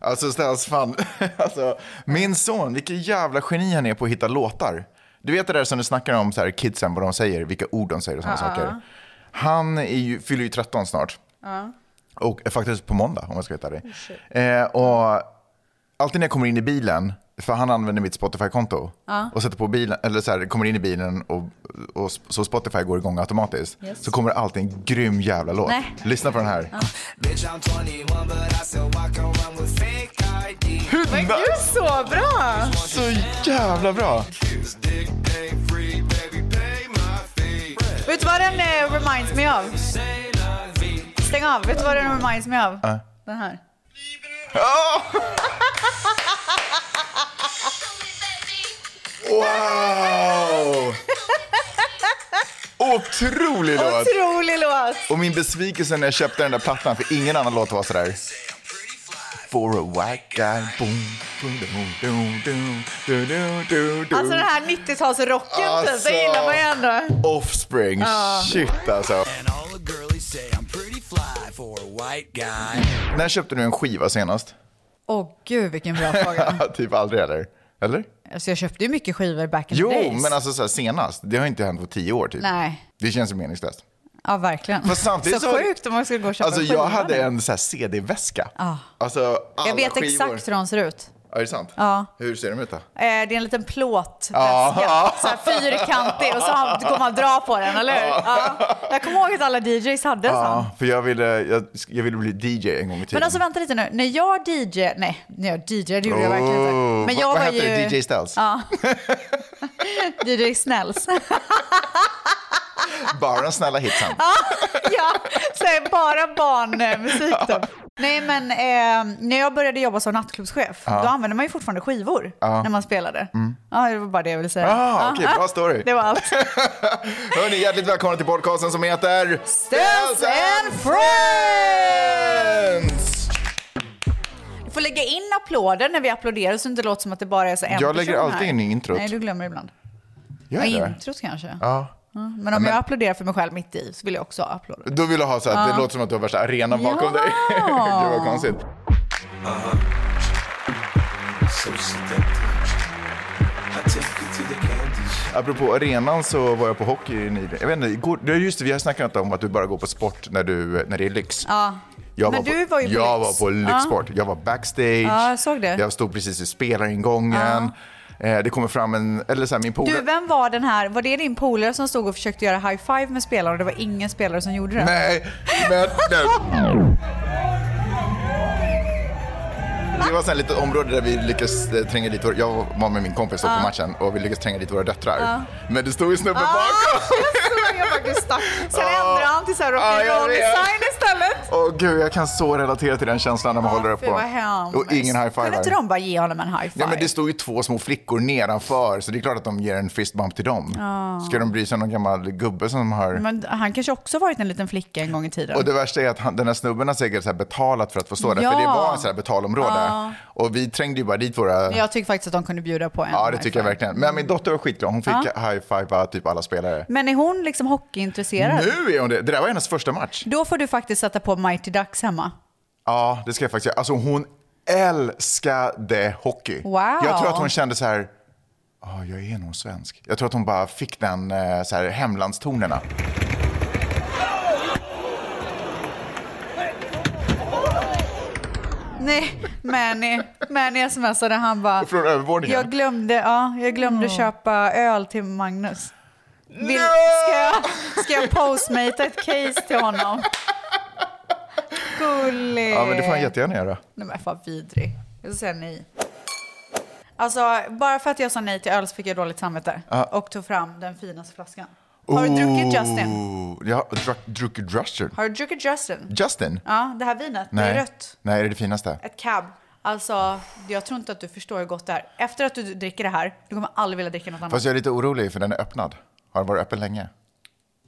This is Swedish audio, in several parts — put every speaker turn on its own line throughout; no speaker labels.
Alltså snälla fan, alltså, min son, vilken jävla geni han är på att hitta låtar. Du vet det där som du snackar om, så här, kidsen, vad de säger, vilka ord de säger och sådana saker. Han är ju, fyller ju 13 snart. Och eh, faktiskt på måndag om jag ska veta det.
Oh,
Eh, och alltid när jag kommer in i bilen, för han använder mitt Spotify-konto. Och sätter på bilen, eller så här, kommer in i bilen och, och så Spotify går igång automatiskt. Så kommer det alltid en grym jävla låt.
Nej.
Lyssna på den här.
Bitch, I'm 21, but I still walk around with fake ID.
Men gud, så bra!
Så jävla bra!
This dick ain't free, baby, pay my fee.
Vet du vad den eh, reminds me av?
Say la vie.
Stäng av. Vet du vad den reminds me av? Den här.
Wow! Otrolig låt!
Otrolig låt!
Och min besvikelse när jag köpte den där plattan, för ingen annan låt var sådär. For a white guy, boom, boom, boom, boom, boom, do, do, do, do.
Alltså den här 90-talsrocken typ,
Alltså.
det gillar man ju ändå.
Offspring, shit alltså.
And all the girlies say I'm pretty fly for a white guy.
När köpte du en skiva senast?
Åh gud vilken bra fråga.
typ aldrig eller? Eller?
Alltså jag köpte ju mycket skivor back in
Jo,
the days.
men alltså så här, senast. Det har inte hänt på tio år typ.
Nej,
Det känns ju meningslöst.
ja verkligen.
Fast samtidigt
så,
så-
sjukt om man skulle gå och köpa
Alltså
en skiva
jag hade
nu.
en så här CD-väska. Alltså alla
Jag vet
skivor.
exakt hur de ser ut.
Ja, är det sant? Hur ser de ut då?
Eh, Det är en liten plåtväska,
Ja.
så här fyrkantig och så har- kommer man dra på den, eller hur? Ja. Jag kommer ihåg att alla DJs hade en sån.
Ja, för jag ville, jag, jag ville bli DJ en gång i tiden.
Men alltså vänta lite nu, när jag DJ, nej, när jag DJ, det gjorde jag verkligen inte.
Oh,
Men
vad-
jag
vad
var
hette det?
ju
DJ Styles?
DJ Snälls.
Bara de snälla hitsen.
ja, så är bara barnmusik då. Nej men eh, när jag började jobba som nattklubbschef, då använde man ju fortfarande skivor när man spelade. Ja, det var bara det jag ville säga.
Mm. Ah, okej, bra story.
Det var allt.
Hörni, hjärtligt välkomna till podcasten som heter
Styles and
Friends!
Du får lägga in applåder när vi applåderar så det inte låter som att det bara är så en
Jag lägger
person
alltid
här.
in i introt.
Nej, du glömmer ibland.
Gör
Ja,
jag det?
introt kanske.
Ja.
Mm, Men om jag applåderar för mig själv mitt i så vill jag också ha applåder.
Då vill jag ha så att det låter som att du har värsta arenan bakom
Ja.
dig. Gud vad konstigt.
So seductive. I take you to the candy shop.
Apropå arenan så var jag på hockey nyligen. Jag vet inte, igår, det är just det, vi har snackat om att du bara går på sport när, du, när det är lyx.
Ja.
Jag
Men
var
du
på,
var ju på
Jag
lyx.
var på lyxsport. Jag var backstage.
Ja, jag såg det.
Jag stod precis i spelaringången. Eh, det kommer fram en, eller så här, min
Du,
polare.
vem var den här? Var det din polare som stod och försökte göra high five med spelare och det var ingen spelare som gjorde det?
Nej, men nej. Det var ett litet område där vi lyckades eh, tränga dit våra, jag var med min kompis då på matchen och vi lyckades tränga dit våra döttrar. Men det stod ju snubben bakom.
Så jag faktiskt stack. Sen
Ja.
ändrade han till såhär
Ja, jag
rock'n'roll
vet.
design istället.
Åh gud, jag kan så relatera till den känslan när man håller upp
Fy vad hemskt.
Och ingen
Kunde inte
high-fiver.
de bara ge honom en high five?
Ja, men det står ju två små flickor nedanför, så det är klart att de ger en fist bump till dem. Ska de bry sig om någon gammal gubbe som har...
Men han kanske också varit en liten flicka en gång i tiden.
Och det värsta är att han, den här snubben har säkert så här betalat för att få stå där,
Ja.
för det var en så här betalområde. Och vi trängde ju bara dit våra...
Jag tycker faktiskt att de kunde bjuda på en
Ja, det
high
tycker jag
five.
verkligen. Men min dotter var skitglad, hon fick high-five typ alla spelare.
Men är hon liksom hockeyintresserad?
Nu är hon det! Det där var hennes första match.
Då får du faktiskt sätta på Mighty Ducks hemma.
Ja, det ska jag faktiskt säga. Alltså hon älskade hockey.
Wow.
Jag tror att hon kände så här, ja, jag är nog svensk. Jag tror att hon bara fick den eh, så här, hemlandstonerna.
Nej, Manny, Manny smsade han bara.
Från övervåningen.
Jag glömde, ja, jag glömde köpa öl till Magnus. Vill, ska, jag, ska jag postmatea ett case till honom? Gullig.
Ja, men det får han jättegärna göra.
Nej men fan vidrig. Jag ska säga nej. Alltså bara för att jag sa nej till öl så fick jag dåligt samvete. Och tog fram den finaste flaskan. Har du
Oh.
druckit Justin?
Ooh, Jag har druck- druckit Justin.
Har du druckit Justin?
Justin?
Ja, det här vinet.
Nej.
Det är rött.
Nej, det är det finaste.
Ett cab. Alltså, jag tror inte att du förstår hur gott det är. Efter att du dricker det här, du kommer aldrig vilja dricka något annat.
Fast jag är lite orolig för den är öppnad. Har den varit öppen länge?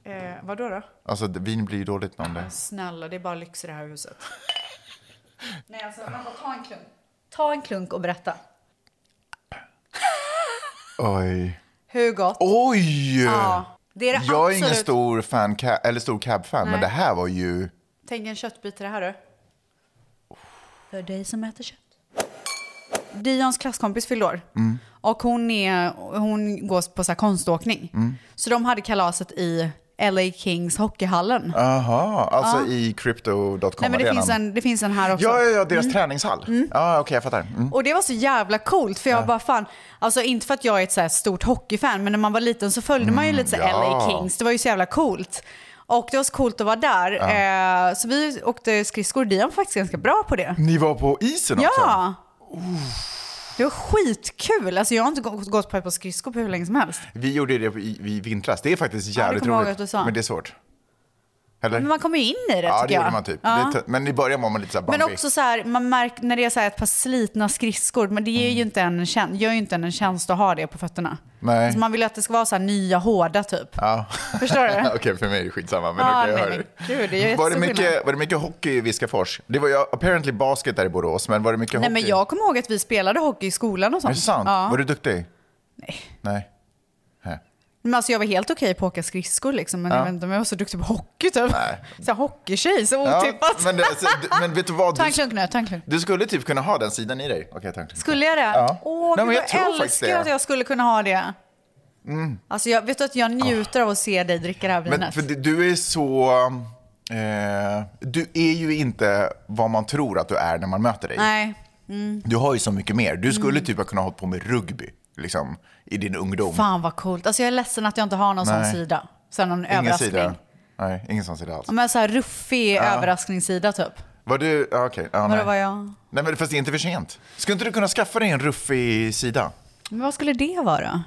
Eh, vadå då?
Alltså det- vin blir ju dåligt med om det.
Snälla, det är bara lyx i det här huset. Nej, alltså vänta, ta en klunk. Ta en klunk och berätta.
Oj.
Hur gott?
Oj!
Ja, det är det
jag är
absolut.
ingen stor, fan, ca- eller stor cab-fan, men det här var ju...
Tänk en köttbit i det här du. För dig som äter kött. Dions klasskompis fyllde år.
Mm.
Och hon, är, hon går på så här konståkning.
Mm.
Så de hade kalaset i LA Kings hockeyhallen.
Aha, alltså i crypto.com
Nej, men det, finns en, Mm. det finns en här också.
Ja, ja, ja, deras träningshall. Ja, okej, jag fattar. Mm.
Och det var så jävla coolt för jag bara fan, alltså inte för att jag är ett så här stort hockeyfan men när man var liten så följde man ju lite så här LA
Mm, ja.
Kings, det var ju så jävla coolt. Och det var så coolt att vara där. Eh, så vi åkte skridskor, Dion var faktiskt ganska bra på det.
Ni var på isen Mm, också?
Ja! Det var skitkul, alltså jag har inte gått gått på ett par skridskor på hur länge som helst.
Vi gjorde det i, i vintras. Det är faktiskt jävligt
kommer jag ihåg
roligt.
att du sa.
Men det är svårt. Eller?
Men man kommer ju in i det
ja, det
tycker jag.
gjorde man typ.
Ja.
Det är t- men i början var man lite så här Bambi.
Men också så här, man märker när det är så här ett par slitna skridskor, men det ger ju inte en, tjän- gör ju inte en en tjänst att ha det på fötterna.
Mm. Nej.
Alltså man vill ju att det ska vara så här nya, hårda typ.
Ja.
Förstår du?
okej, för mig är det skitsamma. Men
Ja,
okej, jag hör
nej, men
dig.
gud, det är
var, det
jättestor
mycket,
skillnad.
var det mycket hockey i Viskafors? Det var ju apparently basket där i Borås, men var det mycket
Nej
hockey?
men jag kommer ihåg att vi spelade hockey i skolan och sånt.
Är det sant?
Ja.
Var du duktig? Nej. Nej.
Men alltså jag var helt okej på att åka skridskor liksom, men jag vet inte om jag var så duktig på hockey typ.
Nej.
Så här, hockeytjej, så
Ja,
otippat.
men, det, alltså, du- men vet du vad?
Ta en
Du,
klunk nu, ta en klunk.
du skulle typ kunna ha den sidan i dig. Okej, tack.
Skulle jag det?
Ja.
Åh,
Nej,
gud,
men jag
jag,
tror faktiskt
älskar
det. Mm.
att jag skulle kunna ha det. Alltså jag, vet du att jag njuter av att se dig dricka det här vinet?
Ah. Men för det- du är så... Eh, du är ju inte vad man tror att du är när man möter dig.
Nej. Mm.
Du har ju så mycket mer. Du skulle typ ha kunnat hålla på med rugby liksom, i din ungdom.
Fan vad coolt. Alltså jag är ledsen att jag inte har någon
Nej.
sån sida. Så här, någon
Ingen
överraskning.
sida. Nej, ingen sån sida alls.
Ja, Men så här ruffig överraskningssida typ.
Var du... Ja, okej. Ja,
Vadå
nej.
var jag?
nej, men fast det är inte för sent. Skulle inte du kunna skaffa dig en ruffig sida?
Men vad skulle det vara?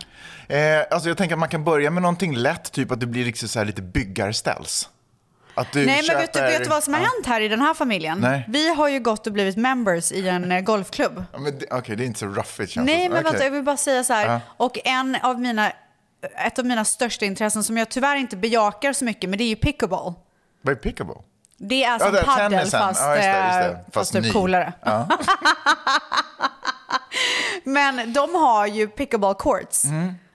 Eh, alltså jag tänker att man kan börja med någonting lätt, typ att du blir liksom så här lite byggarställs. Att du
Nej men
köper...
vet du, vet du vad som har
Ja.
hänt här i den här familjen?
Nej.
Vi har ju gått och blivit members i en eh, golfklubb.
Ja, men det- Okej, det är inte så ruffigt känns det
Nej
som.
men
Okej.
vänta, jag vill bara säga så här. Och en av mina, ett av mina största intressen som jag tyvärr inte bejakar så mycket, men det är ju pickleball.
Vad är pickable?
Det är som
det är
padel
tennisen.
Alltså,
Ja,
fast,
just det, just det.
eh,
Fast
fast, typ
ny.
coolare. Men de har ju pickleball courts.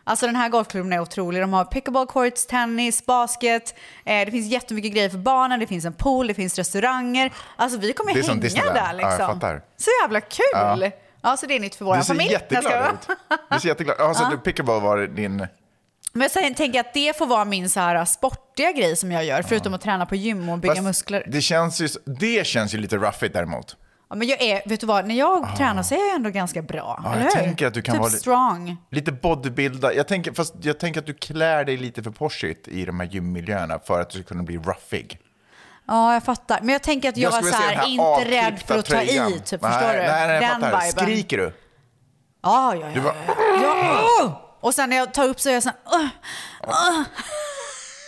Alltså den här golfklubben är otrolig. De har pickleball courts, tennis, basket. Eh, det finns jättemycket grejer för barnen. Det finns en pool, det finns restauranger. Alltså vi kommer
Det är som
hänga
Disneyland.
där
Ja, jag
liksom.
fattar.
så jävla kul! Ja. så det är nytt för våran
Du ser
familj. Jag ska-
jätteglad ut. Du ser jätteglad ut. Alltså, du pickable var din...
Men sen tänker jag att det får vara min så här äh, sportiga grej som jag gör, förutom att träna på gym och bygga
Fast
muskler.
Det känns ju, det känns ju lite ruffigt däremot.
Ja, men jag är, vet du vad, när jag tränar så är jag ändå ganska bra.
Ah. jag
eller hur?
tänker att du kan
typ
vara li-
strong.
Lite bodybuilda. Jag tänker, fast jag tänker att du klär dig lite för poshigt i de här gymmiljöerna för att du ska kunna bli ruffig.
Ja, jag fattar. Men jag tänker att jag, var
skulle
så
se
här,
den
inte rädd
avklippta
för att ta
tröjan.
i, typ.
nej,
förstår du?
Nej, nej, jag
Den
fattar.
viben.
Skriker du?
Ja, ja,
Du
ja.
bara,
ja. Och sen när jag tar upp så är jag så här... "Ugh, ugh."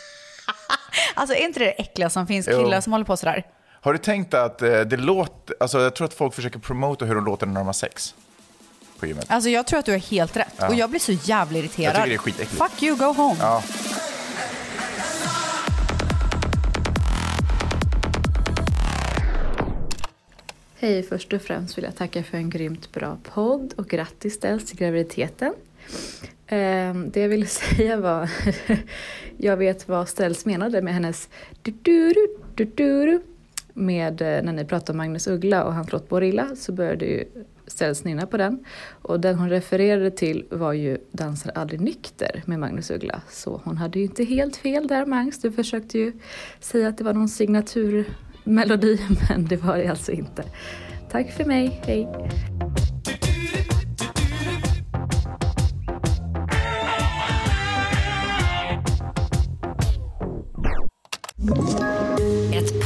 Alltså är inte det det äckliga som finns?
Jo.
Killar som håller på sådär.
har du tänkt att eh, det låter, alltså jag tror att folk försöker promota hur de låter när de har sex på gymmet.
Alltså jag tror att du har helt rätt. Och jag blir så jävla irriterad.
Jag tycker det är skitäckligt.
Fuck you, go home.
Ja.
Hej, först och främst vill jag tacka för en grymt bra podd och grattis dels till graviditeten. Ehm, Det jag ville säga var, jag vet vad Ställs menade med hennes du-du-du, du-du-du. Med, eh, när ni pratade om Magnus Uggla och hans låt Borilla så började ju Ställs nynna på den. Och den hon refererade till var ju Dansar aldrig nykter med Magnus Uggla. Så hon hade ju inte helt fel där Mangs, du försökte ju säga att det var någon signaturmelodi men det var det alltså inte. Tack för mig, hej!
Ett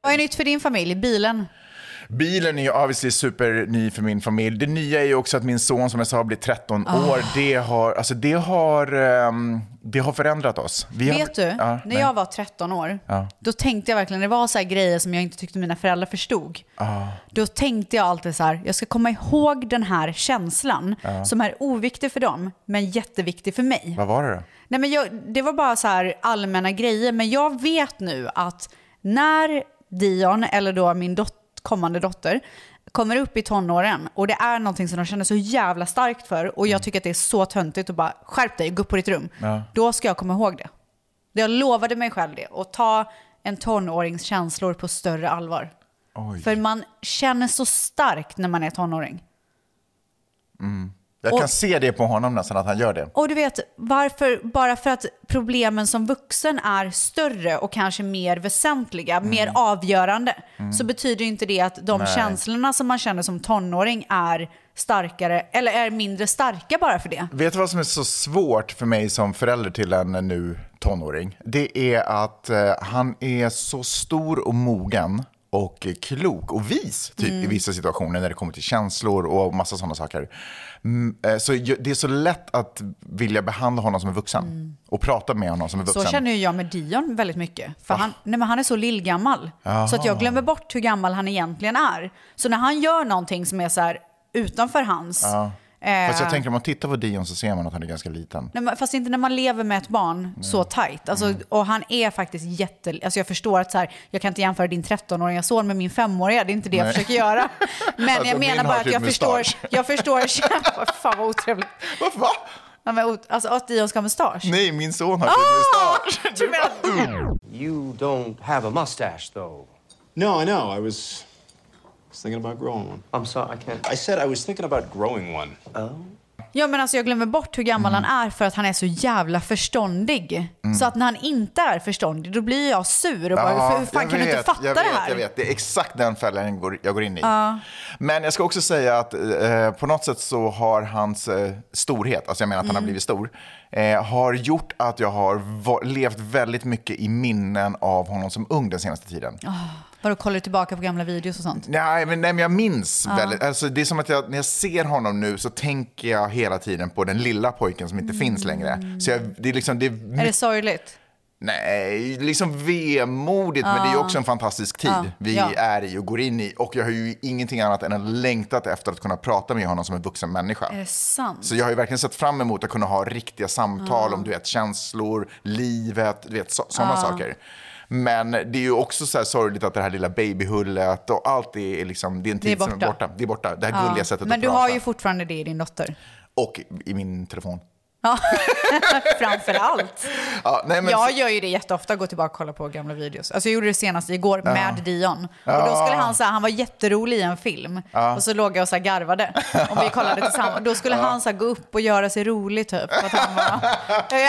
Vad är nytt för din familj? Bilen?
Bilen är ju obviously superny för min familj. Det nya är ju också att min son som jag sa blir 13
Ah.
år. Det har, alltså det har, ehm, det har förändrat oss. Vi har-
Vet du,
Ja,
när
nej.
jag var 13 år, då tänkte jag verkligen, det var så här grejer som jag inte tyckte mina föräldrar förstod.
Ah.
Då tänkte jag alltid så här, jag ska komma ihåg den här känslan som är oviktig för dem, men jätteviktig för mig.
Vad var det då?
Nej, men jag, det var bara så här allmänna grejer, men jag vet nu att när Dion, eller då min dot- kommande dotter, kommer upp i tonåren och det är någonting som de känner så jävla starkt för och jag tycker att det är så töntigt att bara skärp dig, gå upp på ditt rum. Då ska jag komma ihåg det. Jag lovade mig själv det och ta en tonårings känslor på större allvar.
Oj.
För man känner så starkt när man är tonåring.
Jag
Och-
kan se det på honom nästan, att han gör det.
Och du vet, varför, bara för att problemen som vuxen är större och kanske mer väsentliga, mer avgörande, så betyder inte det att de
Mm. Nej.
känslorna som man känner som tonåring är starkare, eller är mindre starka bara för det.
Vet du vad som är så svårt för mig som förälder till en nu tonåring? Det är att eh, han är så stor och mogen och klok och vis typ,
Mm.
i vissa situationer när det kommer till känslor och massa sådana saker. Mm, eh, så ju- det är så lätt att vilja behandla honom som en vuxen och prata med honom som en vuxen.
Mm. Så känner ju jag med Dion väldigt mycket. För han, nej men han är så lillgammal. Så att jag glömmer bort hur gammal han egentligen är. Så när han gör någonting som är så här utanför hans... eh,
Fast jag tänker om man tittar på Dion så ser man att han är ganska liten.
Nej, men- Fast inte när man lever med ett barn så tajt. Alltså,
Mm.
Och han är faktiskt jätte... Alltså jag förstår att så här, jag kan inte jämföra din 13-åriga son med min 5-åriga. Det är inte det jag
Nej.
försöker göra. Men
Alltså,
jag
min
menar
har
bara att
typ
jag förstår...
mustasch.
Jag förstår... Fan vad otrevligt.
Va? va?
Ja, men ot- Alltså att Dion ska ha mustasch.
Nej, min son har
Ah!
oh! mustasch.
Du menar att-
You don't have a mustache, though.
No, I know. I was, I was thinking about growing one.
I'm sorry, I can't.
I said I was thinking about growing one.
Ja men alltså jag glömmer bort hur gammal
Mm.
han är för att han är så jävla förståndig. Så att när han inte är förståndig då blir jag sur och bara, hur fan
jag
kan du inte
vet,
fatta
jag
det
vet,
här?
Jag vet, det är exakt den fällan jag går, jag går in i. Men jag ska också säga att eh, på något sätt så har hans eh, storhet, alltså jag menar att han har
Mm.
blivit stor, eh, har gjort att jag har va- levt väldigt mycket i minnen av honom som ung den senaste tiden.
Vadå, kollar du tillbaka på gamla videos och sånt?
Nej, men, nej, men jag minns väldigt. Alltså, det är som att jag, när jag ser honom nu så tänker jag hela tiden på den lilla pojken som inte finns
Mm.
längre. Så jag, det är liksom, det är
Är det sorgligt?
Nej, liksom vemodigt, men det är ju också en fantastisk tid vi
ja.
är i och går in i. Och jag har ju ingenting annat än en längtat efter att kunna prata med honom som en vuxen människa.
Är det sant?
Så jag har ju verkligen sett fram emot att kunna ha riktiga samtal om du vet, känslor, livet, du vet, sådana saker. Men det är ju också så här sorgligt att det här lilla babyhullet och allt det är, liksom, det är en tid som är
borta.
borta. Det är borta. Det här gulliga sättet
Men
att
du
prata.
har ju fortfarande det i din dotter.
Och i min telefon.
Ja, framför allt.
Ja, nej, men
Jag gör ju det jätteofta, går tillbaka och kollar på gamla videos. Alltså jag gjorde det senast igår med Dion. Och då skulle han säga, han var jätterolig i en film. Och så låg jag och så här garvade. Och vi kollade tillsammans. Då skulle han så här gå upp och göra sig rolig typ. För att han var, I'm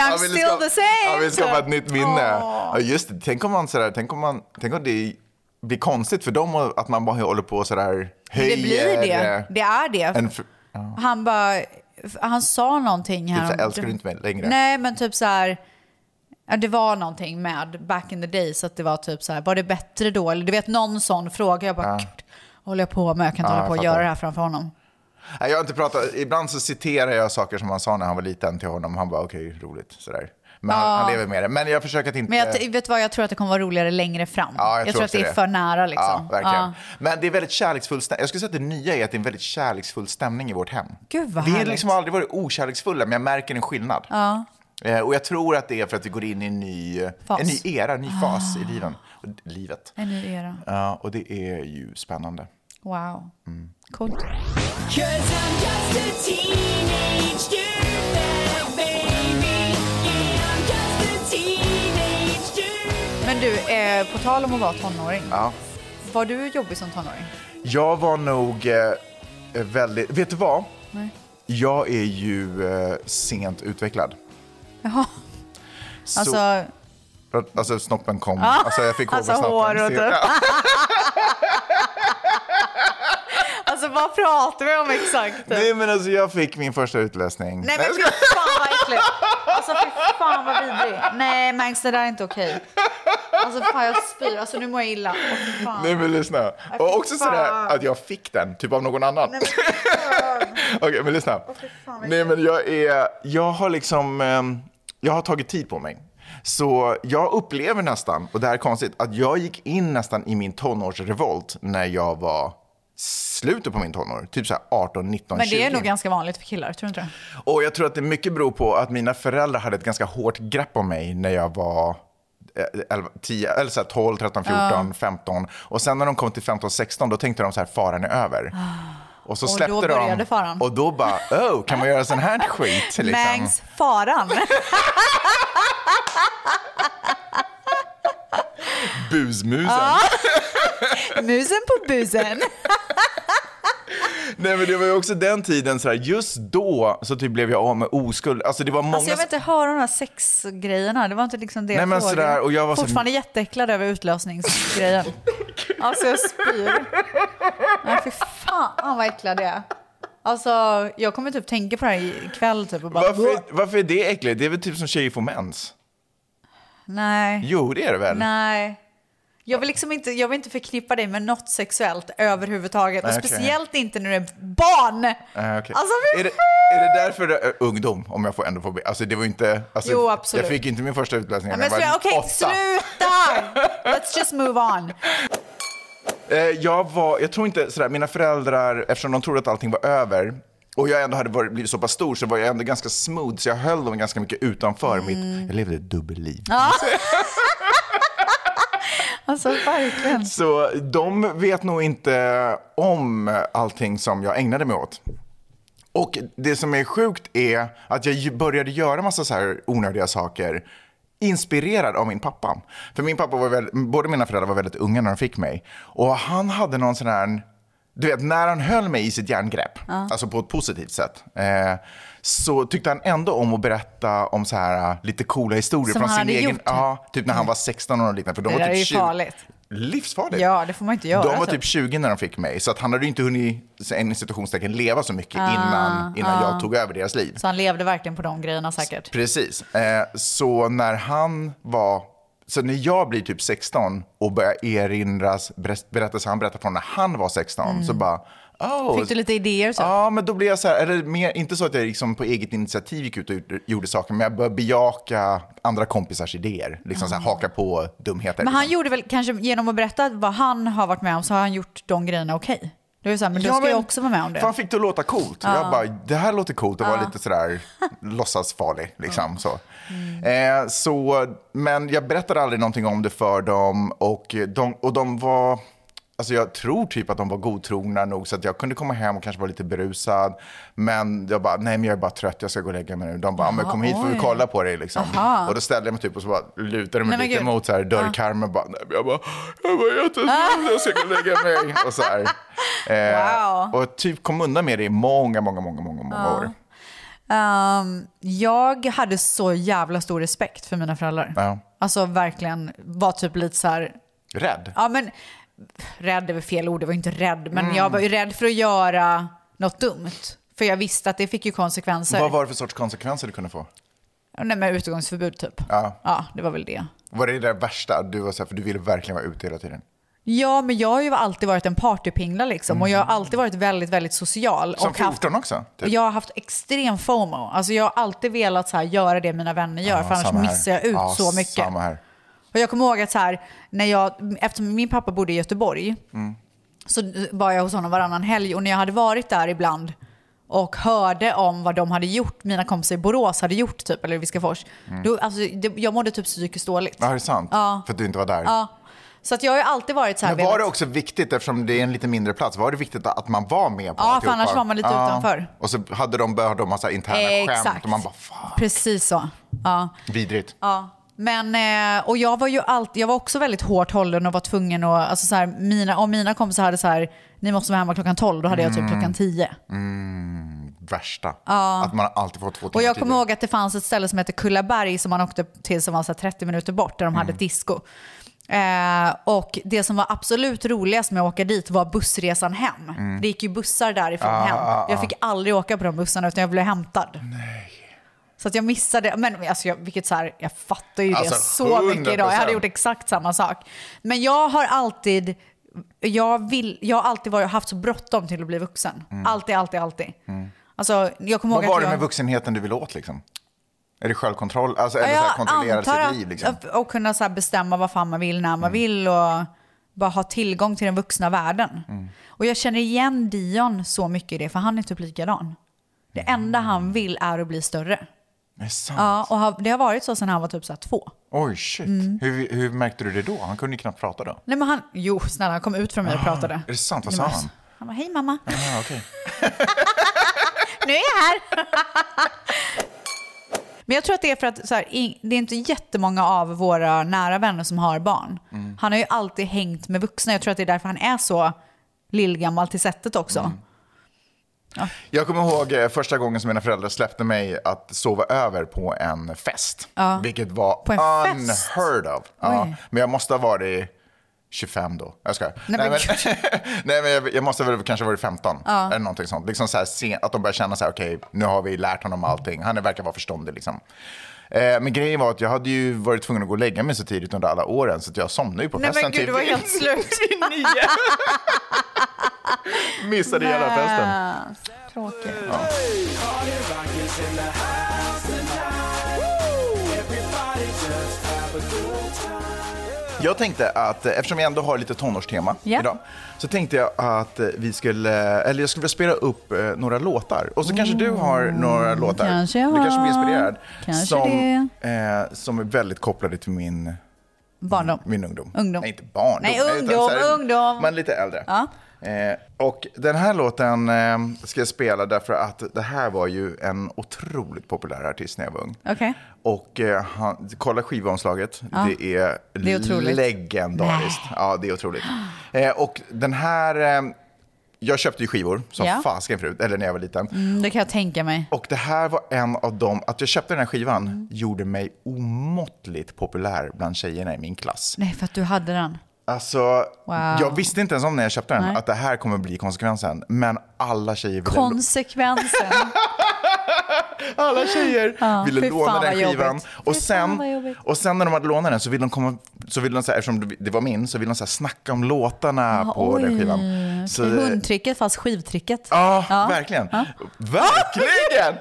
Han ville
still
skapa-
the same. typ.
Han vill skapa ett nytt minne.
Åh.
Ja, just det. Tänk om, man sådär, tänk, om man, tänk om det blir konstigt för dem att man bara håller på och sådär höjer...
Det blir det.
eh,
Det är
En,
det.
fr-
Han bara, han sa någonting här.
typ,
om-
så älskar du inte mig längre?
Nej, men typ så här. ja, Det var någonting med back in the days att det var typ så här, var det bättre då? Eller du vet någon sån fråga. Jag bara, "Gud, vad håller jag på med? Jag kan inte
Ja,
hålla på och
jag
göra
fattar.
det här framför honom.
Nej, jag har inte pratat. Ibland så citerar jag saker som han sa när han var liten till honom. Han bara, okej, roligt. Sådär. Men han, han lever med det. Men jag försöker att inte...
Men jag, vet du vad, jag tror att det kommer vara roligare längre fram.
Ja,
jag tror att
också
det är för nära liksom.
Ja, verkligen.
Ja.
Men det är väldigt kärleksfull stämning. Jag skulle säga att det nya är att det är en väldigt kärleksfull stämning i vårt hem.
Gud, vad
vi har
härligt.
liksom aldrig varit okärleksfulla, men jag märker en skillnad. Eh, Och jag tror att det är för att vi går in i en ny,
Fas. Ah.
en ny era, en ny fas i liven. Och, livet.
En ny era.
Ja, och det är ju spännande.
Wow.
Mm.
Coolt. Men du, eh, på tal om att vara tonåring.
Ja.
Var du jobbig som tonåring?
Jag var nog eh, väldigt... Vet du vad? Jag är ju eh, sent utvecklad.
Jaha.
Så-
Alltså, Ah.
Alltså snoppen kom. Alltså jag fick hår på
alltså
snoppen.
hår
Se-
och typ. alltså Alltså vad pratar vi om exakt?
Nej, men alltså jag fick min första utläsning.
Nej men fy fan vad äckligt. Alltså fy fan vad vidrig. Nej Mangs det där är inte okej. Alltså fan jag spyr. Alltså nu mår jag illa. Åh, fy fan.
Nej, men lyssna.
fy
Och också
fan.
sådär att jag fick den, typ av någon annan.
Nej, men fy fan.
Okej, men lyssna.
fy fan, vad
Nej, men jag är... Jag har liksom... ehm, Jag har tagit tid på mig. Så jag upplever nästan, och det här är konstigt, att jag gick in nästan i min tonårsrevolt när jag var slutet på min tonår, typ så här 18, 19,
Men det är
20.
nog ganska vanligt för killar, tror du inte det?
Och jag tror att det mycket beror på att mina föräldrar hade ett ganska hårt grepp om mig när jag var eh, 11, 10, eller så här 12, 13, 14, 15. Och sen när de kom till 15, 16 då tänkte de så här, faran är över. Och så
Ah. då
släppte de.
började faran.
Och då bara, oh, kan man göra sån här skit? Liksom.
Mangs faran.
Busmusen.
Ah. Musen på busen.
Nej men det var ju också den tiden, så här, just då så typ blev jag av med oskuld. Alltså det var många...
Alltså jag vill inte höra de här sexgrejerna. Det var inte liksom det
Nej, men
jag frågade.
sådär, och jag var så-
Fortfarande jätteäcklad över utlösningsgrejen. alltså jag spyr. Nej fy fan vad äcklad jag är. Alltså jag kommer typ tänka på det här ikväll typ och bara...
varför, varför är det äckligt? Det är väl typ som tjejer får mens?
Nej.
Jo, det är det väl?
Nej. Jag vill, liksom inte, jag vill inte förknippa dig med något sexuellt överhuvudtaget.
Nej,
och
okej.
speciellt inte när du är barn.
Eh, okej.
Alltså
är,
fy
det, är det därför det är ungdom, om jag får ändå få be? Alltså det var ju inte... Alltså,
Jo, absolut.
Jag fick ju inte min första utläsning när
Men
jag var
sluta, okej,
åtta.
sluta! Let's just move on.
Eh, jag var, jag tror inte sådär, mina föräldrar, eftersom de trodde att allting var över och jag ändå hade varit, blivit så pass stor så var jag ändå ganska smooth så jag höll dem ganska mycket utanför
Mm.
mitt, jag levde ett dubbelliv.
Alltså verkligen.
Så de vet nog inte om allting som jag ägnade mig åt. Och det som är sjukt är att jag ju började göra massa så här onödiga saker inspirerad av min pappa. För min pappa var väldigt, båda mina föräldrar var väldigt unga när de fick mig. Och han hade någon sån här, du vet när han höll mig i sitt järngrepp, alltså på ett positivt sätt, eh, så tyckte han ändå om att berätta om så här eh, lite coola historier
Som
från
han
sin
hade
egen,
gjort.
ja, typ när han var 16 år och liknande. För de
Det
var
där
typ
är ju
20
farligt.
Livsfarligt.
Ja, det får man inte göra,
De var
typ.
typ 20 när de fick mig, så att han hade ju inte hunnit, så en situationstecken leva så mycket
Ah,
innan, innan jag tog över deras liv.
Så han levde verkligen på de grejerna säkert.
Precis. Eh, så när han var, så när jag blir typ 16 och börjar erinras berätt- berättelser han berättar från när han var 16, så bara, oh,
Mm. Fick du lite idéer? typ? Så?
Ja, men då blev jag så här, eller mer, inte så att jag liksom på eget initiativ gick ut och gjorde- gjorde saker, men jag började bejaka andra kompisars idéer. Liksom så här, haka på dumheter.
Ah. Men han
liksom.
gjorde väl, kanske genom att berätta vad han har varit med om, så har han gjort de grejerna okej. Det är ju så här, men då
Ja,
ska jag
men
också vara med om det.
Fan fick det att låta coolt. Jag bara, det här låter coolt och var lite sådär låtsasfarlig. Liksom, så.
Mm.
Eh, så, men jag berättade aldrig någonting om det för dem och de, och de var... Alltså jag tror typ att de var godtrogna nog så att jag kunde komma hem och kanske vara lite berusad. Men jag bara, nej men jag är bara trött, jag ska gå och lägga mig nu. De bara, men kom hit får vi
oj.
kolla på dig liksom. Och då ställde jag mig typ och så bara lutade mig
Nej, men
lite
gud.
mot så här dörrkarmen. Bara, nej, men jag bara, jag bara, jag är trött, jag ska gå och lägga mig. Och så här. Eh,
Wow.
Och typ kom undan med det i många, många, många, många, många år.
Ehm, jag hade så jävla stor respekt för mina föräldrar.
Ja.
Alltså verkligen var typ lite så här,
Rädd?
ja men rädd är väl fel ord, jag var ju inte rädd, men
Mm.
jag var ju rädd för att göra något dumt. För jag visste att det fick ju konsekvenser.
Vad var det för sorts konsekvenser du kunde få?
Nej men utegångsförbud typ.
Ja.
ja, det var väl det.
Var det det värsta? Du var så här, för du ville verkligen vara ute hela tiden.
Ja, men jag har ju alltid varit en partypingla liksom och jag har alltid varit väldigt, väldigt social.
Mm. Som
och haft,
14 också?
och
Typ.
jag har haft extrem FOMO. Alltså jag har alltid velat så här, göra det mina vänner gör,
Ja,
för annars
samma här.
missar jag ut
Ja,
så mycket.
Samma här.
Och jag kommer ihåg att så här, när jag, eftersom min pappa bodde i Göteborg
Mm.
så var jag hos honom varannan helg och när jag hade varit där ibland och hörde om vad de hade gjort, mina kompisar i Borås hade gjort typ, eller i Viskafors,
Mm.
då, alltså, det, jag mådde typ psykiskt dåligt.
Ja, det är sant. För att du inte var där.
Ja. Så att jag har ju alltid varit så här...
Men var det
velat-
också viktigt, eftersom det är en lite mindre plats, var det viktigt att man var med på
Ja, för
alltihopa?
annars var man lite utanför.
Och så hade de, började de massa interna skämt
Exakt.
och man bara, fan,
Precis så. Ja.
vidrigt.
Ja. Men, eh, och jag var ju alltid, jag var också väldigt hårt hållen och var tvungen att, alltså så här, mina, om mina kompisar hade så här, ni måste vara hemma klockan 12, då hade jag typ
Mm.
klockan 10.
Värsta. Att man alltid får två timmar
Och jag
tidigare.
kommer
Mm.
ihåg att det fanns ett ställe som hette Kullaberg som man åkte till som var så här 30 minuter bort där de hade ett disco. Eh, och det som var absolut roligast med att åka dit var bussresan hem.
Mm.
Det gick ju bussar därifrån
Ah,
hem. Jag fick aldrig åka på de bussarna utan jag blev hämtad. Så att jag missade, men alltså jag, vilket så här, jag fattar ju det
Alltså,
så mycket idag. Jag hade
100%.
gjort exakt samma sak. Men jag har alltid, jag, vill, jag har alltid varit, haft så bråttom till att bli vuxen. Alltid, alltid, alltid. Alltså, jag
Mm.
kommer
Vad
ihåg
var
att
det
jag...
med vuxenheten du ville åt liksom? Är det självkontroll? Alltså, eller så
Ja,
här, kontrollera
antar
sitt
att-
liv liksom? Mm.
att- Och kunna så här bestämma vad fan man vill när man vill och bara ha tillgång till den vuxna världen.
Mm.
Och jag känner igen Dion så mycket i det, för han är typ likadan. Det
Mm.
enda han vill är att bli större.
Är det sant?
Ja, Mm. och har- det har varit så sedan han var typ så här två.
Oj, shit. Hur, hur märkte du det då? Han kunde ju knappt prata då.
Nej men han, jo snälla han kom ut från mig och pratade.
Ah, Är det sant? Vad
Nej,
sa
men
han?
alltså, Han bara, hej mamma,
Ah, okej.
nu är jag här. men jag tror att det är för att så här, i- det är inte jättemånga av våra nära vänner som har barn.
Mm.
Han har ju alltid hängt med vuxna. Jag tror att det är därför han är så lillgammal till sättet också.
Mm. Jag kommer ihåg eh, första gången som mina föräldrar släppte mig att sova över på en fest. Vilket var
På en fest?
unheard of. Ja, men jag måste ha varit 25 då. Jag ska.
Nej, men
nej, men jag, jag måste väl kanske ha varit 15. Eller någonting sånt. Liksom så här, sen, att de börjar känna så här, okej, nu har vi lärt honom allting. Han verkar vara förståndig liksom. Eh, Men grejen var att jag hade ju varit tvungen att gå och lägga mig så tidigt under alla åren så att jag somnade ju på
Nej
festen.
men gud, det
typ
var helt slut.
Missade hela festen.
Tråkigt.
Jag tänkte att eh, eftersom vi ändå har lite tonårstema
Ja.
idag så tänkte jag att eh, vi skulle, eller jag skulle vilja spela upp eh, några låtar. Och så kanske du har några låtar.
kanske jag
du kanske
har.
blir inspirerad.
Kanske
som, eh, som är väldigt kopplade till min,
Barndom.
min ungdom.
Ungdom.
Nej, inte barndom.
Nej,
utan så
ungdom,
här,
ungdom.
Men lite äldre.
Ja.
Eh, och den här låten eh, ska jag spela därför att det här var ju en otroligt populär artist när jag var ung.
Okej.
Och eh, han, kolla skivomslaget. Det är,
Det är otroligt.
legendariskt. Ja, det är otroligt. Eh, och den här... Eh, jag köpte ju skivor som
Ja.
fasken förut, eller när jag var liten.
Mm, det kan jag tänka mig.
Och det här var en av dem, att jag köpte den här skivan gjorde mig omåttligt populär bland tjejerna i min klass.
Nej, för att du hade den.
Alltså,
Wow.
jag visste inte ens om när jag köpte den
Nej.
att det här kommer bli konsekvensen. Men alla tjejer ville,
Konsekvensen.
alla tjejer
fy
ville
fan
låna
vad
den skivan.
jobbigt.
Och
Fy fan
sen,
vad jobbigt.
och sen när de hade lånat den så ville de, komma, så ville de så här, eftersom det- det var min, så ville de så här snacka om låtarna på den skivan. Så,
Hundtricket fast skivtricket.
Ja, verkligen. Verkligen!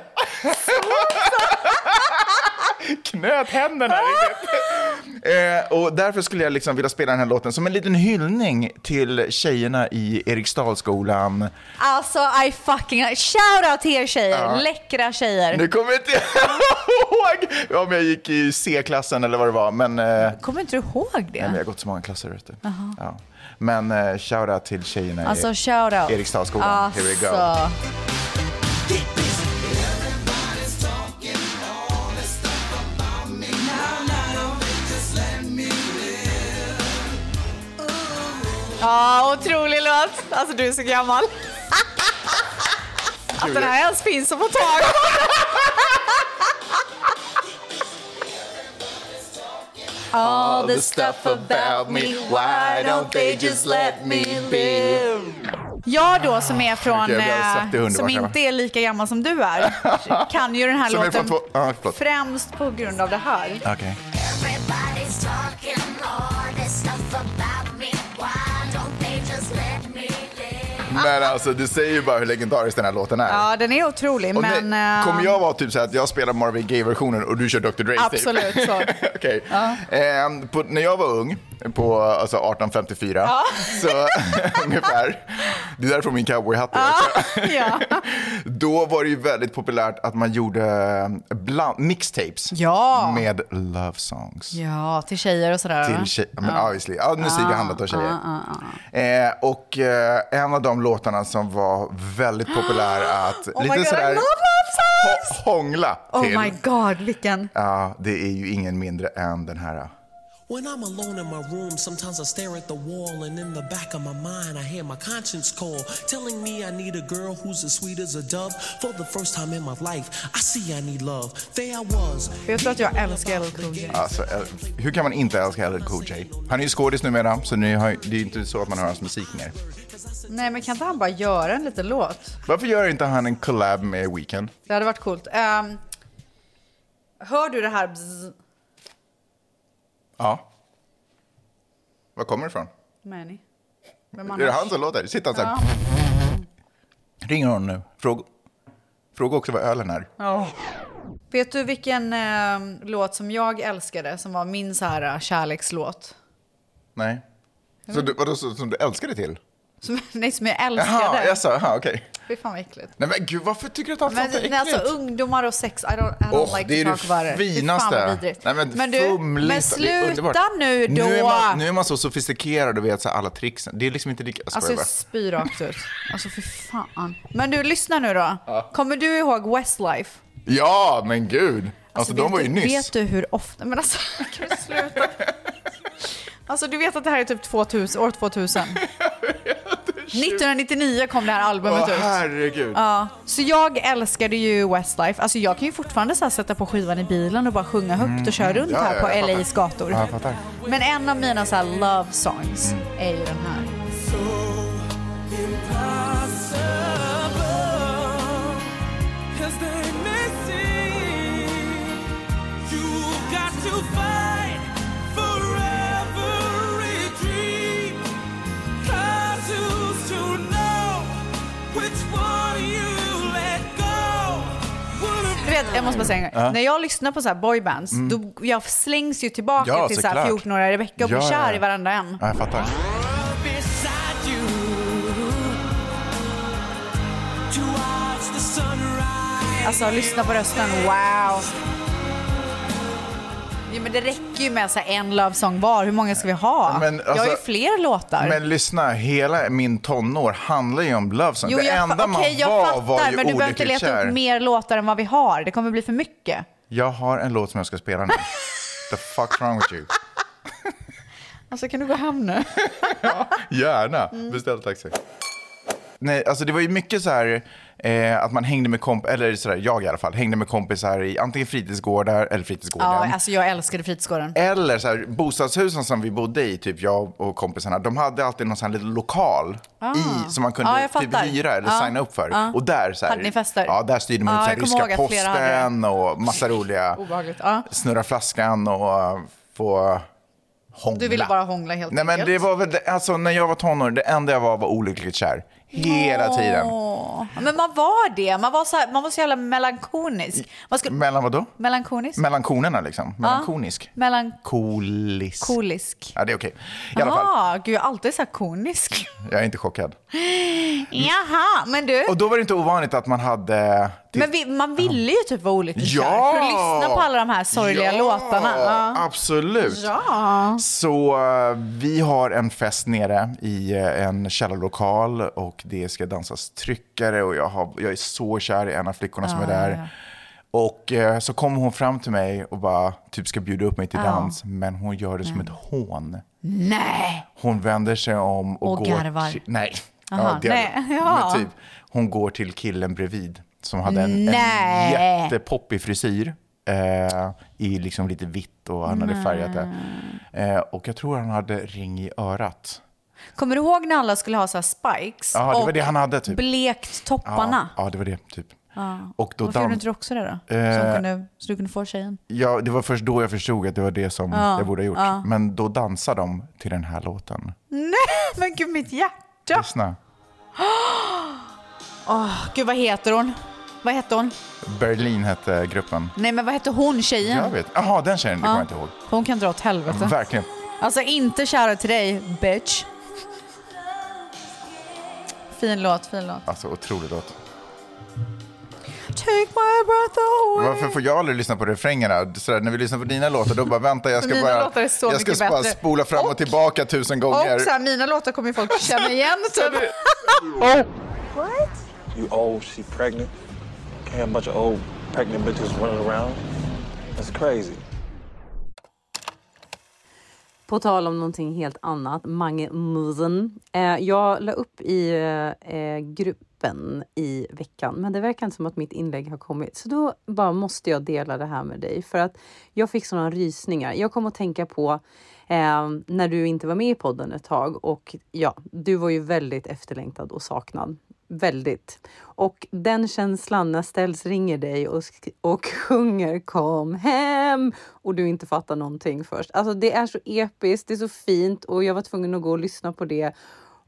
Knöt händerna riktigt. eh, Och därför skulle jag liksom vilja spela den här låten som en liten hyllning till tjejerna i Eriksdalsskolan.
Alltså I fucking... Shout out till er tjejer. Läckra tjejer.
Nu kommer jag inte ihåg om jag gick i C-klassen eller vad det var, men, eh, nej,
Kommer inte du ihåg
men jag
det?
har gått så många klasser. Vet du. Ja. Men eh, shoutout till tjejerna
Alltså
i
shout out.
Eriksdalsskolan.
Alltså.
Here we go.
Ja, otrolig låt. Alltså du är så gammal. Att den här ens finns att få tag på. All the stuff about me, why don't they just let me be? Jag då som är från,
Ah, Okej, jag har sett det
eh,
underbart,
som
grabbar.
inte är lika gammal som du är, kan ju den här
Som är från
låten
två- ja, förlåt.
främst på grund av det här.
Okej.
Everybody's talking all this stuff about me. Why don't they just let me live?
Men alltså, du säger ju bara hur legendarisk den här låten är.
Ja, den är otrolig,
Och
men...
nej,
eh,
kommer jag vara typ så här att jag spelar Marvin Gaye-versionen och du kör Dr. Dre?
Absolut
typ?
så.
Okej. Ehm, på, när jag var ung, på alltså 1854, så ungefär, det är därför min cowboyhatt är också.
ja.
Då var det ju väldigt populärt att man gjorde eh, bland, mixtapes
Ja.
med love songs.
ja, Ah, till tjejer och sådär. va?
Till tjej, men obviously, ja, musik har handlat om tjejer.
ah,
Eh, och eh, en av de låtarna som var väldigt populär att
Oh
lite
my God, I
sådär
love love songs!
ho- hångla
Oh
till.
my god, vilken...
Ja, det är ju ingen mindre än den här.
When I'm alone in my room, sometimes I stare at the wall, and in the back of my mind, I hear my conscience call, telling me I need a girl who's as sweet as a dove. For the first time in my life, I see I need love. There I was.
För jag tror att jag älskar LL Cool J.
Alltså, eh, hur kan man inte älska LL Cool J? Han är ju skådis numera, så nu har, det är ju inte så att man hör hans musik mer.
Nej, men kan inte han bara göra en liten låt?
Varför gör inte han en collab med Weekend?
Det hade varit coolt. Ehm, hör du det här? Bzz,
Ja. Var kommer det ifrån?
Manny? Vem
Är det han som låter? Sitter han så här?
Ja.
Ringer hon nu? Fråga, fråga också vad ölen är.
Ja. Vet du vilken eh, låt som jag älskade som var min så här eh, kärlekslåt?
Nej. Så du, vadå, så, som du älskade till?
Som, nej, som jag
Jaha,
älskade.
jag sa, jaha, okej.
Fy fan vad äckligt.
Nej men gud, varför tycker du att allt
Men
sånt är
nej,
äckligt?
alltså ungdomar och sex, I don't, I don't
Åh,
like
det är
to
det
talk about it. Fy fan, vad
finaste.
vidrigt.
Nej, men,
men du,
fumligt.
men
Det är underbart.
sluta nu då!
Nu är, man, nu är man så sofistikerad och vet så här alla tricksen. Det är liksom inte lika...
Alltså jag spyr rakt ut. Alltså för fan. Men du, lyssna nu då. Kommer du ihåg Westlife? Alltså,
Ja, men gud! Alltså, de
vet
var ju
du,
nyss.
Vet du hur ofta... Men alltså, kan du sluta? Alltså du vet att det här är typ 2000, år 2000? 1999 kom det här albumet
Åh,
ut.
herregud.
Ja, så jag älskade ju Westlife. Alltså jag kan ju fortfarande så här sätta på skivan i bilen och bara sjunga högt och köra runt
Mm. Ja,
här
ja,
på
jag fattar.
LAs gator.
Ja, jag fattar. Mm.
Men en av mina så här love songs är ju den här. Du vet, jag måste bara säga en grej.
Ja.
När jag lyssnar på så här boybands,
Mm.
då jag slängs ju tillbaka
Ja,
till så här
såklart.
14-åriga Rebecca och blir
Ja, ja,
kär
ja.
i varandra en.
Ja, jag fattar.
Alltså, lyssna på rösten. Wow! Jo, men det räcker ju med så här en love song var. Hur många ska vi ha?
Men,
jag har ju
alltså-
fler låtar.
Men lyssna, hela min tonår handlar ju om love songs.
Jo,
Det
jag,
enda
fa-
man
okej, jag
var
fattar,
var ju
men du behöver inte
olyckligt
leta
kär.
upp mer låtar än vad vi har. Det kommer bli för mycket.
Jag har en låt som jag ska spela nu. The fuck's wrong with you?
Alltså, kan du gå hem nu?
Gärna,
Mm.
beställ taxi. Nej, alltså det var ju mycket så här eh, att man hängde med komp eller så där, jag i alla fall, hängde med kompisar i antingen fritidsgårdar eller fritidsgården.
ja, alltså jag älskade fritidsgården.
Eller så här, bostadshusen som vi bodde i, typ jag och kompisarna, de hade alltid någon sån här liten lokal
Ah.
i, som man kunde
Ja, jag
typ
fattar.
hyra eller
Ja.
signa upp för.
Ja.
Och där så här,
Hade ni fester?
Ja, där styrde man
Ja,
upp så här,
jag kommer
ryska
ihåg att flera hade
posten och massa roliga,
Obehagligt. Ja.
snurra flaskan och äh, få hångla.
Du ville bara hångla helt
Nej men
enkelt.
det var väl, det- alltså när jag var tonåring, det enda jag var var olyckligt kär. Hela
Åh.
tiden.
Men man var det. Man var så, här, man var så jävla melankonisk. Man skulle,
Mellan vadå?
melankonisk?
Melankonerna liksom.
Ja.
Melankonisk.
Melankolisk.
Kolis. Ja, det är okej. I alla fall,
Jaha, gud jag är alltid så här konisk.
jag är inte chockad.
Mm. Jaha, men du.
Och då var det inte ovanligt att man hade...
Men vi, man ville ju typ vara olycklig
Ja!
kär för att lyssna på alla de här sorgliga
Ja,
låtarna. Ja.
Absolut.
Ja.
Så eh, vi har en fest nere i eh, en källarlokal och det ska dansas tryckare och jag, har, jag är så kär i en av flickorna som
Ja,
är där.
ja, ja.
Och eh, så kommer hon fram till mig och bara typ ska bjuda upp mig till
Ja. Mm.
dans, men hon gör det som ett hån.
Nej!
Hon vänder sig om och,
Och
går...
garvar.
Till, nej.
Aha,
det hade-
nej, ja.
Men typ, hon går till killen bredvid som hade en, en
Nej.
jättepoppig frisyr. Eh, I liksom lite vitt och han hade
Nej.
färgat det. Eh, och jag tror han hade ring i örat.
Kommer du ihåg när alla skulle ha så här spikes?
Ja, det var
och
det han hade typ.
blekt
Ja,
topparna.
ja, det var det typ.
Ja.
Och då
Varför
dans-
gjorde inte du också det då?
Eh.
Som kunde, så du kunde få tjejen?
Ja, det var först då jag förstod att det var det som
Ja,
jag borde ha gjort.
ja.
Men då dansar de till den här låten.
Nej, men gud mitt hjärta!
Lyssna.
Åh, gud vad heter hon? Vad hette hon?
Berlin hette gruppen.
Nej men vad hette hon tjejen?
Jag vet. Jaha, den tjejen, det
Ja.
kommer jag inte ihåg.
Hon kan dra åt helvete.
Verkligen.
Alltså inte kära till dig, bitch. Fin låt, fin låt.
Alltså otrolig låt.
Take my breath away.
Varför får jag aldrig lyssna på refrängerna? Sådär, när vi lyssnar på dina låtar, då bara vänta, jag ska
Mina
bara,
låtar är så
jag ska
mycket
bara
bättre.
spola fram och, tillbaka tusen gånger.
Och så här, mina låtar kommer ju folk känna igen typ. What?
You old, she pregnant. Can't have a bunch of old pregnant bitches running around. That's crazy.
På tal om någonting helt annat, Mange Musen. Eh, jag la upp i eh, gruppen i veckan, men det verkar inte som att mitt inlägg har kommit. Så då bara måste jag dela det här med dig, för att jag fick sådana rysningar. Jag kom att tänka på eh, när du inte var med i podden ett tag och ja, du var ju väldigt efterlängtad och saknad. Väldigt. Och den känslan när Ställs ringer dig och, sk- och sjunger Kom hem och du inte fattar någonting först. Alltså det är så episkt, det är så fint och jag var tvungen att gå och lyssna på det.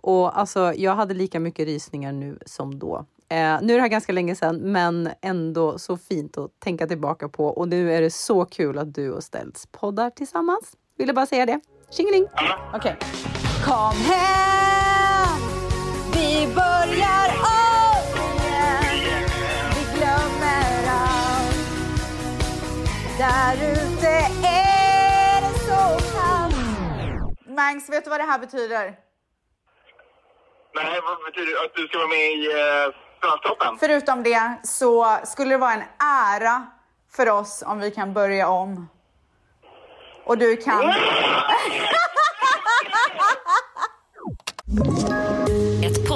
Och alltså jag hade lika mycket rysningar nu som då. Eh, nu är det här ganska länge sedan men ändå så fint att tänka tillbaka på och nu är det så kul att du och Ställs poddar tillsammans. Ville bara säga det. Tjingeling! Okej.
Kom hem, vi börjar om igen. Vi glömmer allt. Där ute är det så kallt. Mangs, vet du vad det här betyder?
Nej, vad betyder det? Att du ska vara med i eh, Fransktoppen?
Förutom det så skulle det vara en ära för oss om vi kan börja om. Och du kan...
Ett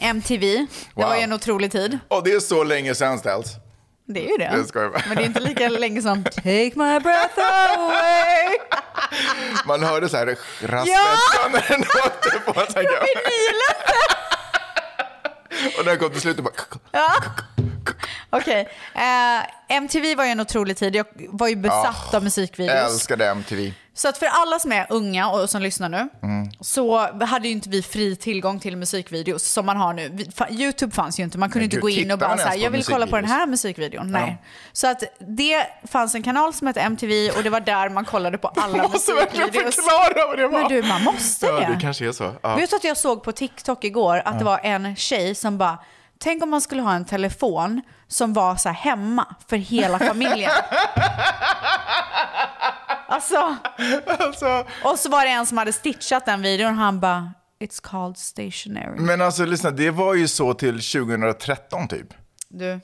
MTV. Det var
Wow.
ju en otrolig tid.
Och det är så länge sedan ställs.
Det är ju det.
Jag skojar bara.
Men det är inte lika länge som Take my breath away.
Man hörde så här raspet
Ja!
när den åkte på. Jag Och när den kom till slutet bara...
Ja. Okej. Eh, MTV var ju en otrolig tid. Jag var ju
Ah,
besatt av
Jag
musikvideos.
älskade MTV.
Så att för alla som är unga och som lyssnar nu
Mm.
så hade ju inte vi fri tillgång till musikvideos som man har nu. Vi- fa- Youtube fanns ju inte. Man kunde
Men
inte
gud,
gå in
tittar
och bara
man
så här,
ens på
jag vill kolla på den här musikvideon.
Ja.
Nej. Så att det fanns en kanal som hette MTV och det var där man kollade på alla
Jag måste verkligen
musikvideos.
förklara vad det var.
Men du, man måste
Ja,
det.
det kanske är så. Ja.
Vet du att jag såg på TikTok igår att
Ja.
det var en tjej som bara, tänk om man skulle ha en telefon som var så här hemma för hela familjen. alltså.
Alltså.
Och så var det en som hade stitchat den videon och han bara, it's called stationary.
Men alltså lyssna, det var ju så till 2013 typ.
Du,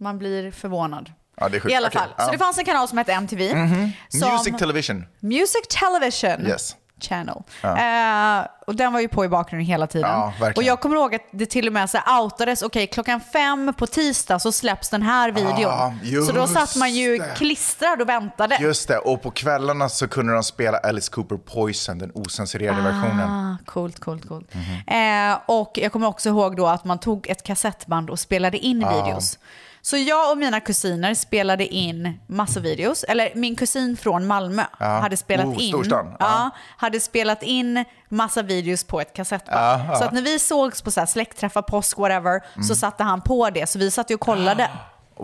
man blir förvånad.
Ja, det är sjukt.
I alla
Okej,
fall,
ja.
så det fanns en kanal som hette MTV.
Mhm.
som-
Music Television.
Music Television
Yes.
Channel.
Ja.
Eh, och den var ju på i bakgrunden hela tiden.
Ja, verkligen.
och jag kommer ihåg att det till och med så här outades, okej klockan fem på tisdag så släpps den här videon.
Ah,
så då
just
satt man ju klistrad och väntade.
Just det, och på kvällarna så kunde de spela Alice Cooper Poison, den ocensurerade versionen. Mhm.
Ah, coolt, coolt, coolt. Eh, och jag kommer också ihåg då att man tog ett kassettband och spelade in
Ah.
videos. Så jag och mina kusiner spelade in massor videos. Eller min kusin från Malmö
Ja.
hade spelat
Oh,
in.
storstan.
Ja, hade spelat in massa videos på ett kassettband.
Ah.
Så att när vi sågs på så här släktträffar, påsk, whatever, så
Mm.
satte han på det. Så vi satt ju och kollade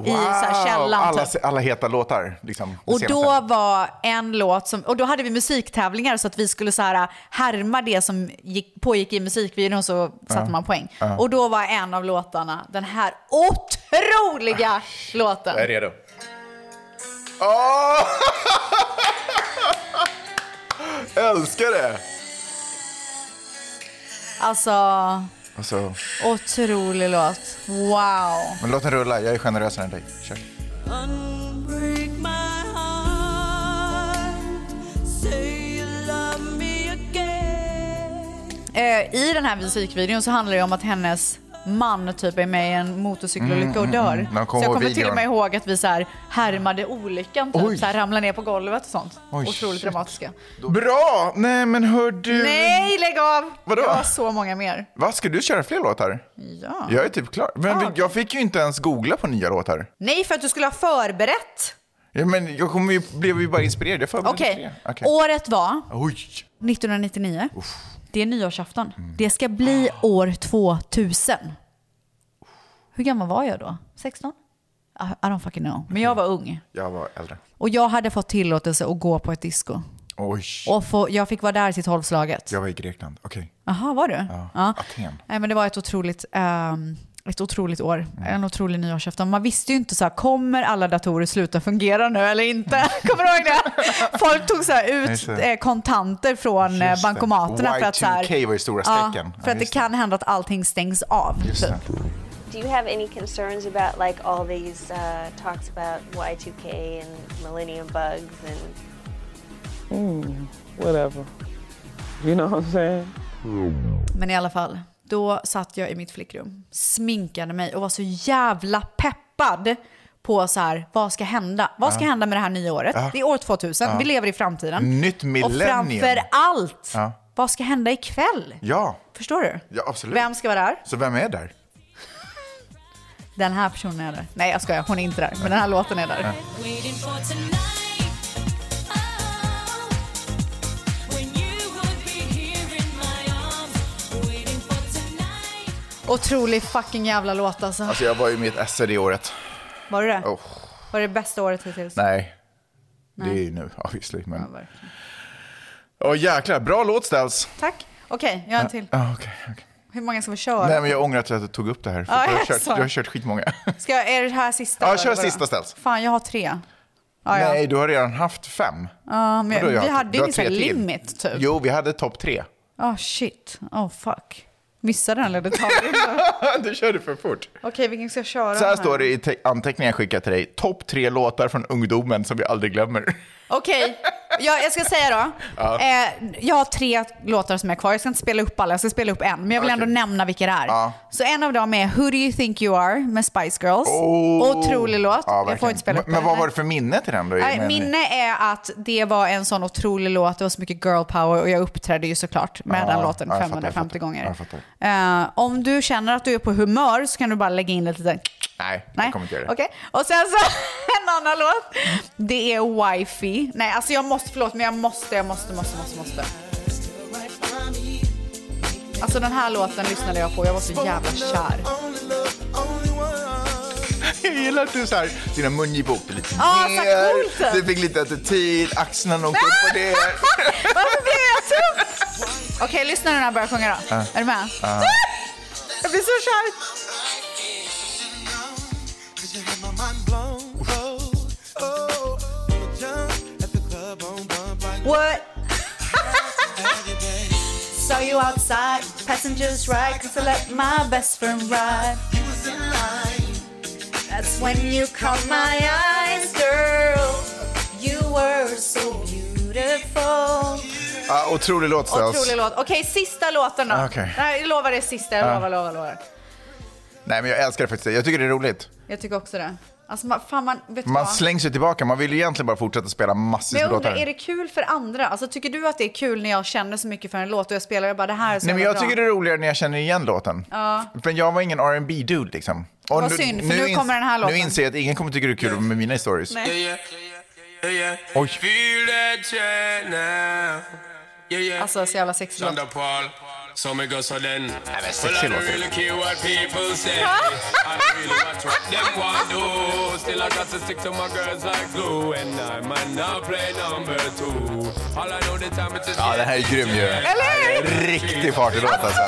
i så här källaren.
alla,
typ.
alla heta låtar. Liksom, det
Och
senaste.
då var en låt som, och då hade vi musiktävlingar så att vi skulle så här äh, härma det som gick, pågick i musikvideon och så satte
Ja.
man poäng.
Ja.
Och då var en av låtarna den här otroliga låten.
Jag Ah, är redo. Åh!
Oh,
Älskar det!
Alltså,
Alltså,
otrolig låt. Wow.
men låt den rulla, jag är generösare än dig. Kör.
Unbreak my heart. Say you love me again.
Eh, I den här musikvideon så handlar det om att hennes man typ är med i en motorcykelolycka och
Mm,
dör.
mm, mm. Jag
Så
kommer
jag
ihåg
kommer till och
videon.
med ihåg att vi så här härmade olyckan, typ,
Oj.
så här ramlade ner på golvet och sånt.
Oj,
Otroligt
shit.
dramatiska.
Bra! Nej men hör du.
Nej, lägg av!
Vadå?
Jag har så många mer.
Vad ska du köra fler låtar?
Ja.
Jag är typ klar. Men vi- jag fick ju inte ens googla på nya låtar.
Nej, för att du skulle ha förberett.
Ja, men jag kommer ju, blev ju bara inspirerad. Jag förberedde
Okej,
tre.
året var
Oj.
1999. Det är nyårsafton. Det ska bli år 2000. Hur gammal var jag då? 16? I I don't fucking know. Men jag var ung.
Jag var äldre.
Och jag hade fått tillåtelse att gå på ett disco.
Oj,
Och få, jag fick vara där till tolvslaget.
jag var i Grekland. Okej.
Jaha, var du?
Ja.
Ja.
Aten.
Nej, men det var ett otroligt, ehm, ett otroligt år.
Mm.
En otrolig nyårsafton. Man visste ju inte så här, kommer alla datorer sluta fungera nu eller
Mm.
inte? Kommer du ihåg det? Folk tog så här ut
Just det.
eh, kontanter från eh,
Just det.
bankomaterna. För att, så här,
Y2K var det stora stecken.
Ja, för
Ja,
att det
just
kan hända att allting stängs av.
Just
typ.
det.
Do you have any concerns about like all these uh, talks about Y2K and millennium bugs and
Mm, whatever. You know what I'm saying?
Men i alla fall, då satt jag i mitt flickrum, sminkade mig och var så jävla peppad på så här, vad ska hända? Vad ska
Ja.
hända med det här nya året?
Ja.
Det är år 2000,
Ja.
vi lever i framtiden.
Nytt
Och
millennium.
framför allt,
Ja.
vad ska hända ikväll?
Ja.
Förstår du?
ja, absolut.
Vem ska vara där?
Så vem är där?
Den här personen är där. Nej, jag skojar. Hon är inte där. Men den här låten är där.
Waiting for tonight. Oh, when you would be here in my arms. Waiting for tonight.
Otrolig fucking jävla låt alltså.
Alltså jag var ju mitt esse det året.
Var det det?
Oh.
Var det bästa året hittills?
Nej. Det är
Nej.
ju nu obviously. Men... Åh jäklar, bra låt Ställs.
Tack. Okej, jag har en till.
Ja, okej.
Hur många ska vi köra?
Nej men jag ångrar att jag tog upp det här. För
Ja,
jag, har
jag
kört,
sa.
jag har kört skitmånga.
Ska jag, är det här sista?
Ja,
då,
kör
eller vadå?
sista Ställs.
Fan, jag har tre. Ja, ja.
Nej, du har redan haft fem.
Ja, men
Vadå, jag
vi
har-
hade
du
ju
har
vissa
tre till.
limit typ.
Jo, vi hade topp tre.
Oh shit. Oh fuck. Missade den eller tar vi den?
du körde för fort.
Okej, vilken ska jag köra?
Så här står det i te- anteckningar jag skickar till dig. Topp tre låtar från ungdomen som vi aldrig glömmer.
Okej, ja, jag ska säga då.
Ja.
Eh, jag har tre låtar som är kvar. Jag ska inte spela upp alla, jag ska spela upp en. Men jag vill ändå nämna vilka det är.
Ja.
Så en av dem är Who Do You Think You Are med Spice Girls. Otrolig låt.
Oh. Ja,
jag får
verkligen.
inte spela upp
Men men
den.
vad var det för minne till den då?
Nej,
Men-
Minne är att det var en sån otrolig låt, det var så mycket girl power och jag uppträdde ju såklart med
Ja,
den låten
ja, jag fattar,
550
jag fattar.
gånger.
Ja, jag fattar.
Eh, om du känner att du är på humör så kan du bara lägga in lite...
Nej,
Nej,
jag kommer inte göra det.
okej. Och sen så en annan låt. Det är Wifey. Nej, alltså jag måste, förlåt, men jag måste, jag måste, måste, måste, måste. Alltså den här låten lyssnade jag på, jag var så jävla kär.
Jag gillar att du så här, dina mungipor åkte lite
Ah, så coolt!
Du fick lite attityd, axlarna åkte upp och det.
Varför blev jag tuff? Okej, lyssna när den här börjar sjunga då.
Ja.
Är du med?
Ja.
Jag blir så kär.
Cause you have my mind blown. Oh, oh, I'ma jump at the club on bump like
What? Saw you outside, passengers right, cause I let my best friend ride. That's when you caught my eyes, girl. You were so beautiful.
Ja, otrolig låt Stas.
Otrolig låt. Okej, sista låten då.
Okej.
Nej, jag lovar det är sista, jag
Ja.
lovar, lovar, lovar.
Nej men jag älskar det faktiskt. Jag tycker det är roligt.
Jag tycker också det. Alltså, man, fan, man, vet du
Man
vad?
slängs ju tillbaka. Man vill ju egentligen bara fortsätta spela massvis
Men
med
jag undrar, är
låtar.
det kul för andra? Alltså, tycker du att det är kul när jag känner så mycket för en låt och jag spelar och jag bara det här är så
Nej men
jävla
jag
bra.
tycker det är roligare när jag känner igen låten. Ja. För jag var ingen R&B dude liksom.
Vad synd, för nu
ins-
kommer den här låten.
Nu inser jag att ingen kommer tycka det är kul med mina stories.
Yeah, yeah, yeah, yeah, yeah.
Oj.
Feel that chain now. Yeah, yeah.
Alltså så jävla sexig låt.
Sandra Paul, sommer går så den. Well, I
sexig
don't
låt.
really care what people say. I don't really watch what them want do. Still I got to stick to my girls like glue. And I might not play number two. All I know the time it's just...
Ja, den här är grym ju.
Eller
hur? Riktig partylåt alltså.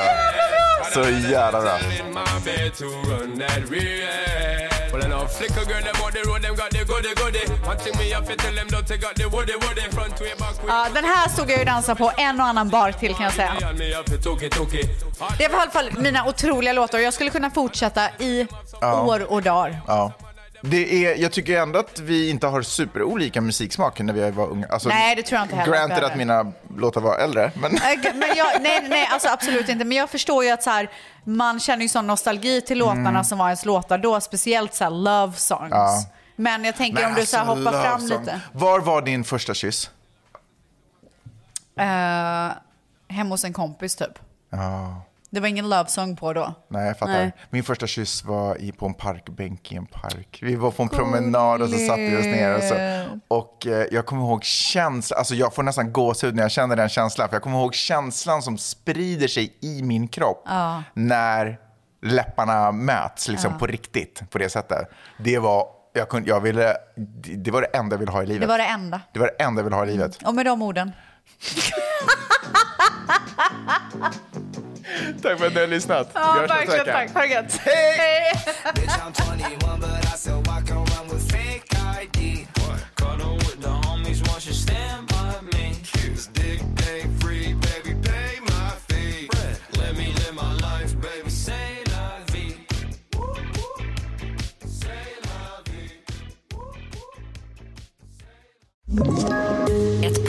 Så jävla bra.
in my bed to run that real. Well, I know flicker girl, them on the road, them got the goody goody. One thing me have to tell them, don't take out the woody woody. Front way, back way.
Ja, den här stod jag ju dansa på en och annan bar Ah, till kan jag säga.
And me have to talk it, talk it.
Det var i alla fall mina otroliga låtar och jag skulle kunna fortsätta i
Ja.
år och dagar.
Ja. Det är, jag tycker ändå att vi inte har superolika musiksmak när vi var unga. Alltså,
Nej, det tror jag inte heller att vi
Granted
hade.
att mina låtar var äldre, men...
Äh, g- Men jag, nej, nej, nej, alltså absolut inte. Men jag förstår ju att så här, man känner ju sån nostalgi till låtarna
Mm.
som var ens låtar då, speciellt så här love songs.
Ja.
Men jag tänker
Men
om du så här
alltså,
hoppar
love
fram
song.
lite.
Var var din första kyss?
Uh, hemma hos en kompis typ.
Ja,
Det var ingen love song på då.
nej, jag fattar.
Nej.
Min första kyss var i, på en parkbänk i en park. Vi var på en promenad och så satte vi oss ner. Och, så. och eh, jag kommer ihåg känslan, alltså jag får nästan gåshud när jag känner den känslan. För jag kommer ihåg känslan som sprider sig i min kropp.
Ja.
när läpparna möts liksom
Ja.
på riktigt på det sättet. Det var Jag, kunde, jag ville, det det var det enda jag ville ha i livet.
Det var det enda.
Det var det enda jag ville ha i livet.
Och med de orden.
Tack för att ni har lyssnat.
Ja,
Vi hörs nästa vecka.
verkligen. Tack. Ha det gött.
Bitch, I'm 21, but I still walk around with fake ID. Cuddle with the homies, want you stand by me. Kiss, dick, pay free, baby, pay my fee. Let me live my life, baby, say la vie. Woo, woo. Say la vie.
Ett